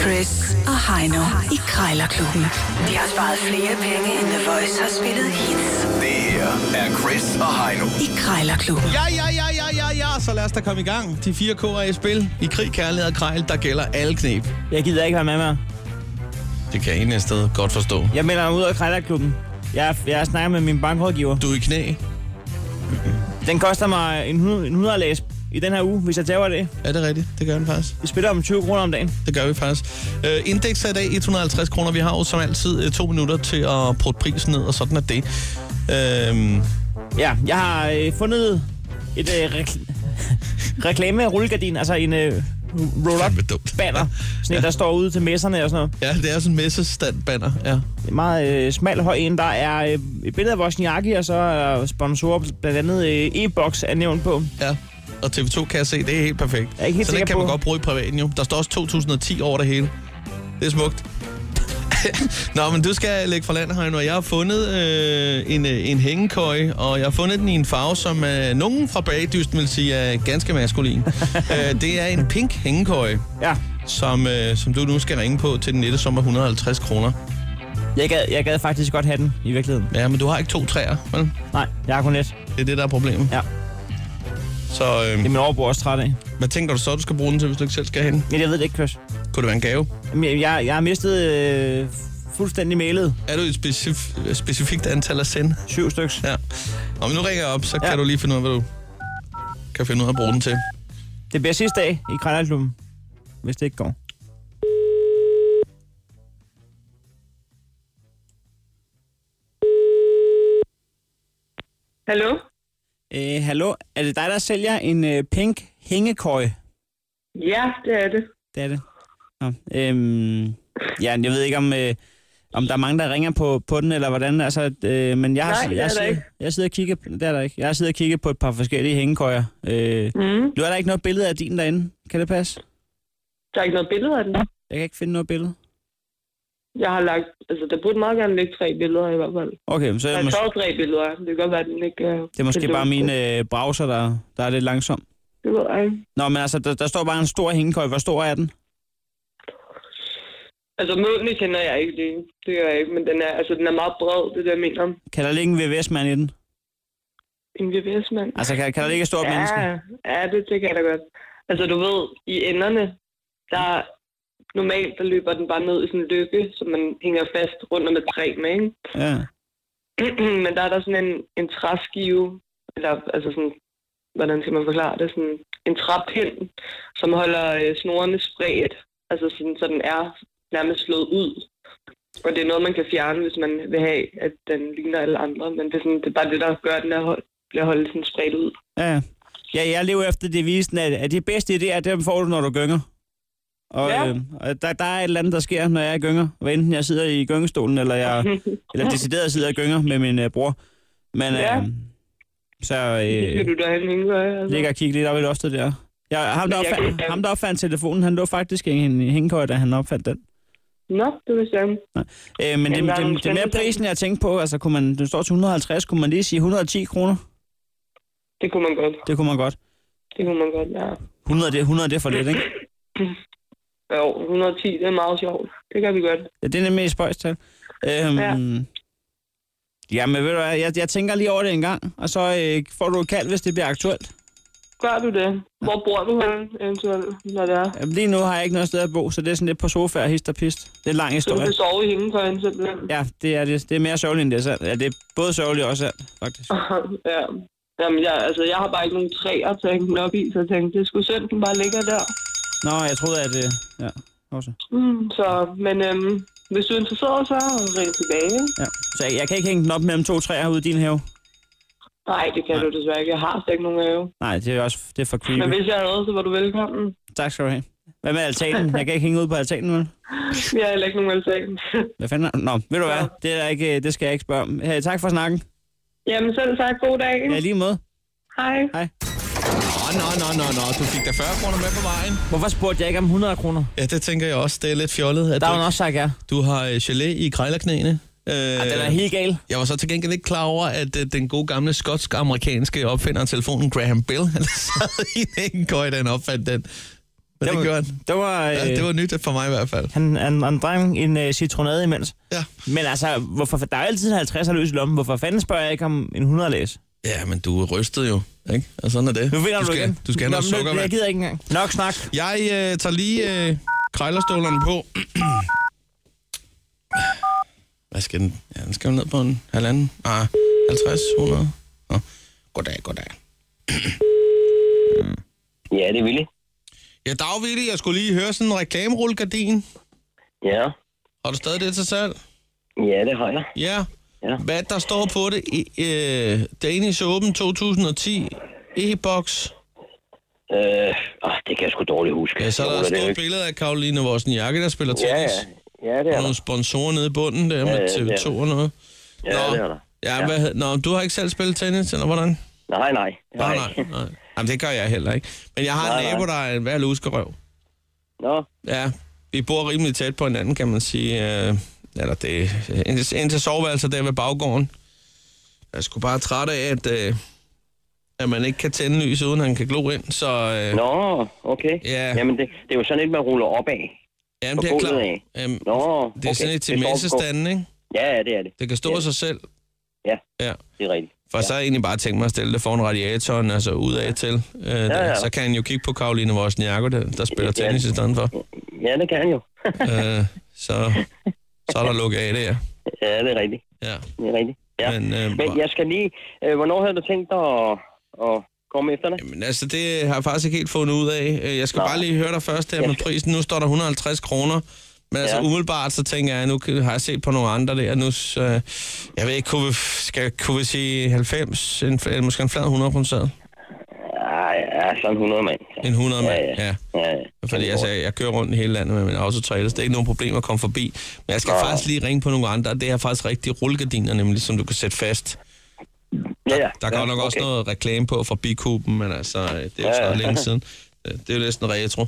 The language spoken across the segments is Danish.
Chris og Heino i Krejlerklubben. De har sparet flere penge, end The Voice har spillet hits Det her er Chris og Heino. i Krejlerklubben. Ja, ja, ja, ja, ja, ja, så lad os da komme i gang. De fire K'er er i spil. I krig, kærlighed og krejl, der gælder alle knep. Jeg gider ikke være med mere. Det kan jeg en af sted godt forstå. Jeg melder mig ud af Krejlerklubben. Jeg, jeg snakker med min bankrådgiver. Du er i knæ. Den koster mig en 100, en 100 læs i den her uge, hvis jeg tager det. Er det rigtigt? Det gør den faktisk. Vi spiller om 20 kroner om dagen. Det gør vi faktisk. Øh, indeks er i dag 150 kroner. Vi har jo som altid øh, to minutter til at putte prisen ned, og sådan er det. Øh, Ja, jeg har øh, fundet et øh, rekl- reklame-rullegardin, altså en øh, Fandme roll-up dumt. banner, sådan en, der står ude til messerne og sådan noget. ja, det er sådan en messestandbanner. Ja. En meget øh, smal høj en, der er øh, et billede af Wozniacki, og så er sponsorer blandt andet øh, e-box er nævnt på. ja. Og TV2 kan jeg se, det er helt perfekt. Jeg er ikke helt så det sikker kan man på- godt bruge i privaten jo. Der står også 2010 over det hele. Det er smukt. Nå, men du skal lægge for land, Heino. Jeg har fundet øh, en, øh, en hængekøje, og jeg har fundet den i en farve, som øh, nogen fra bagdysten vil sige er ganske maskulin. øh, det er en pink hængekøje, Ja, som, øh, som du nu skal ringe på til den nette som er 150 kroner. jeg gad, jeg gad faktisk godt have den i virkeligheden. Ja, men du har ikke to træer, vel? Nej, jeg har kun et. Det er det, der er problemet. Ja. Så øh, Det er min overbo også træt af. hvad tænker du så, du skal bruge den til, hvis du ikke selv skal have den? Ja, jeg ved det ikke, Chris. Kunne det være en gave? Jamen, Jeg, jeg, jeg har mistet øh, fuldstændig mailet. Er du i et specif- specifikt antal af send? Syv styks. Ja. Og men nu ringer jeg op, så ja. Ja. kan du lige finde ud af, hvad du kan finde ud af at bruge den til. Det bliver sidste dag i Krejlerklubben, hvis det ikke går. Hallo? Øh, hallo, er det dig, der sælger en øh, pink hængekøje? Ja, det er det. Det er det. Nå, øhm, ja, jeg ved ikke, om, øh, om der er mange, der ringer på, på den, eller hvordan. Altså, øh, men jeg, har, Nej, det er jeg, der sidder, ikke. jeg sidder og kigger, det er der ikke. Jeg sidder og kigger på et par forskellige hængekøjer. Øh, Mm. du har der ikke noget billede af din derinde. Kan det passe? Der er ikke noget billede af den. Jeg kan ikke finde noget billede. Jeg har lagt... Altså, der burde meget gerne ligge tre billeder i hvert fald. Okay, så er Der det er måske, taget tre billeder. af den. Det kan godt være, at den ikke... øh, det er måske er bare dumt. min øh, browser, der, der er lidt langsom. Det ved jeg ikke. Nå, men altså, der, der står bare en stor hængekøj. Hvor stor er den? Altså, målene kender jeg ikke lige. Det gør jeg ikke, men den er, altså, den er meget bred, det er det, jeg mener. Kan der ligge en VVS-mand i den? En VVS-mand. Altså, kan, kan der ligge et stort ja, menneske? ja, det, det kan jeg da godt. Altså, du ved, i enderne, der normalt, der løber den bare ned i sådan en løkke, som man hænger fast rundt om et træ med, ikke? Ja. men der er der sådan en, en træskive, eller altså sådan, hvordan skal man forklare det, sådan en træpind, som holder øh, snorene spredt, altså sådan, så den er nærmest slået ud. Og det er noget, man kan fjerne, hvis man vil have, at den ligner alle andre, men det er, sådan, det er bare det, der gør, at den er hold, bliver holdt sådan spredt ud. Ja, ja. ja, jeg lever efter devisen, at, at de bedste idéer, dem får du, når du gynger. Og, Ja. øh, og der, der er et eller andet, der sker, når jeg gynger. Hvad enten jeg sidder i gyngestolen, eller jeg eller decideret sidder og gynger med min øh, bror. Men øh, Ja. så Det skal øh, du derhen, Inge, altså. ligger og kigger lidt op i loftet der. Jeg, ham, der Men jeg opfandt, kan- ham, der opfandt telefonen, han lå faktisk i en hængekøj, da han opfandt den. Nå, det vil jeg Øh, men det, Jamen, der det, det er nogle er mere spændende ting. prisen, jeg tænkte på. Altså, kunne man, den står til 150, kunne man lige sige 110 kroner? Det kunne man godt. Det kunne man godt. Det kunne man godt, ja. 100, det, 100 det er for lidt, ikke? Jo, 110, det er meget sjovt. Det kan vi godt. Ja, det er nemlig et spøjstal. Øhm, Ja. ja. Jamen, ved du hvad, jeg, jeg tænker lige over det en gang, og så øh, får du et kald, hvis det bliver aktuelt. Gør du det? Hvor bor du henne, eventuelt, når det er? Jamen, lige nu har jeg ikke noget sted at bo, så det er sådan lidt på sofa og hist og pist. Det er en lang Så du historie. kan sove i hængekøjen simpelthen? Ja, det er, det, det er mere sørgeligt, end det er sandt. Ja, det er både sørgeligt og sandt, faktisk. ja. Jamen, jeg, altså, jeg har bare ikke nogen træer til at hænge den op i, så jeg tænkte, det skulle synd, den bare ligger der. Nå, jeg troede, at... Øh, ja, også. Mm, så, men øhm, hvis du er interesseret, så ring tilbage. ikke? Ja. Så jeg, jeg kan ikke hænge den op mellem to træer ude i din have. Nej, det kan Nej. Nej. du desværre ikke. Jeg har slet ikke nogen have. Nej, det er også det er for Men creepy. hvis jeg havde, så var du velkommen. Tak skal du have. Hvad med altanen? Jeg kan ikke hænge ud på altanen, vel? Jeg har heller ikke nogen altan. Hvad fanden? er- Nå, ved du hvad? Det, er der ikke, øh, det skal jeg ikke spørge om. Hey, tak for snakken. Jamen selv tak. God dag. Ja, lige måde. Hej. Nå, nå, nå, nå, nå. Du fik da 40 kroner med på vejen. Hvorfor spurgte jeg ikke om 100 kroner? Ja, det tænker jeg også. Det er lidt fjollet, at du, Der har hun ikke- også sagt ja. du har øh, gelé i krejlerknæene. Øh, Og den er helt gal. Jeg var så til gengæld ikke klar over, at øh, den gode gamle skotsk-amerikanske opfinder af telefonen, Graham Bell, han sad i en hængekøje, da han opfandt den. Men det, var, gjorde han. Det var, øh, Ja, det var nyt for mig i hvert fald. Han, han, han dreng en øh, citronade imens. Ja. Men altså, hvorfor, der er jo altid 50 løs i lommen. Hvorfor fanden spørger jeg ikke om en 100 læs? Ja, men du er rystet jo, ikke? Og sådan er det. Nu vinder du, du skal, igen. Du skal have noget Nå, men sukker, Jeg mand. gider ikke engang. Nok snak. Jeg øh, tager lige øh, krejlerstålerne på. Hvad skal den? Ja, den skal jo ned på en halvanden. Ah, 50, 100. Nå. Goddag, goddag. Ja, det er Willy. Ja, dag, Willy. Jeg skulle lige høre sådan en reklamerullegardin. Ja, Har du stadig det til salg? ja det har jeg. Ja. Ja. Hvad der står på det? I, øh, Danish Open 2010 e-box. Øh, åh, det kan jeg sgu dårligt huske. Ja, så er der Roller et det jo stort ikke. billede af Karoline Vosniakke, der spiller tennis. Ja, ja. Ja, det er Og nogle der. sponsorer nede i bunden der med ja, det er TV2 og noget. Ja, Nå. det er der. Ja, ja. Hvad, hed- nå, du har ikke selv spillet tennis, eller hvordan? Nej, nej. Nej, nej. nej. Jamen, det gør jeg heller ikke. Men jeg har Nej, en nej. nabo, der er en værd luskerøv. Nå, Ja, vi bor rimelig tæt på hinanden, kan man sige. Øh, eller det ind, ind til soveværelset der ved baggården. Jeg er sgu bare træt af, at, øh, at man ikke kan tænde lys, uden han kan glo ind. Så øh, nå, okay. Ja. Jamen, det, det er jo sådan et, man ruller op af. jamen, på det er gulvet klart. af. Øhm, Nå, okay. det er sådan et til står på- messestanden, ikke? Ja, ja, det er det. Det kan stå af sig selv. Ja. Ja. Det er rigtigt. For ja. så har jeg egentlig bare tænkt mig at stille det foran radiatoren, altså udad til. Øh, ja, ja. Så kan han jo kigge på Karoline Wozniacki, der, der spiller Ja. tennis i stedet for. Ja, det kan jo. øh, så, så er der lukket af det, ja. Ja, det er rigtigt. ja. Det er rigtigt. Ja. Men, øh, Men jeg skal lige... Øh, hvornår havde du tænkt dig at, at komme efter det? Jamen, altså, det har jeg faktisk ikke helt fundet ud af. Øh, Jeg skal Nå. bare lige høre dig først her med prisen. Nu står der 150 kroner. Men altså Ja. umiddelbart, så tænker jeg, nu kan- har jeg set på nogle andre der. Nu, så, øh, jeg ved ikke, kunne vi, skal, kunne vi sige 90, en, eller måske en flad 100 procent? Ja, Ah, ja, sådan 100 mand. En 100 mand, Ja, ja. Ja, ja. Fordi altså, jeg kører rundt i hele landet med min autotrailer, så det er ikke nogen problem at komme forbi. Men jeg skal Nå. faktisk lige ringe på nogle andre, og det er faktisk rigtige rullegardiner, nemlig, som du kan sætte fast. ja, ja. Der går ja, nok også okay. noget reklame på fra Bikuben, men altså, øh, det er jo Ja, så ja. længe siden. Øh, Det er jo næsten retro,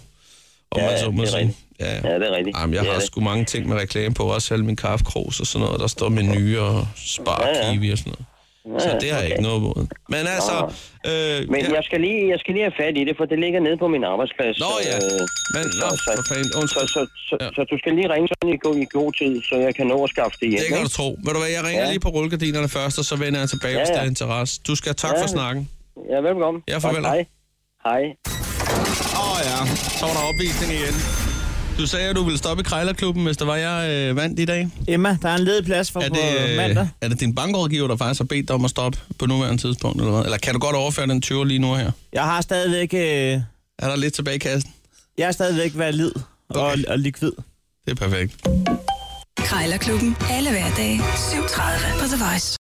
om Ja, man så ja, må det er sige. rigtigt. Ja, Ja, det er rigtigt. Jamen, jeg Det er har det. sgu mange ting med reklame på, også alle mine kaffekros og sådan noget. Der står menu og spar Ja, ja. kiwi og sådan noget. Så Ja, det har jeg okay. ikke noget imod. Men altså, øh, Men ja. jeg skal, lige, jeg skal lige have fat i det, for det ligger nede på min arbejdsplads. Nå ja, øh, men nå, så- for fanden, Så, undskyld. så, så, Ja. ja. så du skal lige ringe sådan i god, i god tid, så jeg kan nå at skaffe det hjem. Det kan du ikke? tro. Ved du hvad, jeg ringer Ja. lige på rullegardinerne først, og så vender jeg tilbage, hvis Ja, der ja. er interesse. Du skal have tak Ja. for snakken. Ja, velkommen. Ja, farvel. Tak, Hej. Hej. Åh oh, ja, så var der opvisning igen. Du sagde, at du ville stoppe i Krejlerklubben, hvis der var jeg øh, vandt i dag. Emma, der er en ledig plads for Er på det, øh, mandag. er det din bankrådgiver, der faktisk har bedt dig om at stoppe på nuværende tidspunkt? Eller, hvad? eller kan du godt overføre den 20 lige nu her? Jeg har stadigvæk, øh, Er der lidt tilbage i kassen? jeg er stadigvæk valid og, og likvid. Det er perfekt. Krejlerklubben. Alle hverdage. 7.30 på The Voice.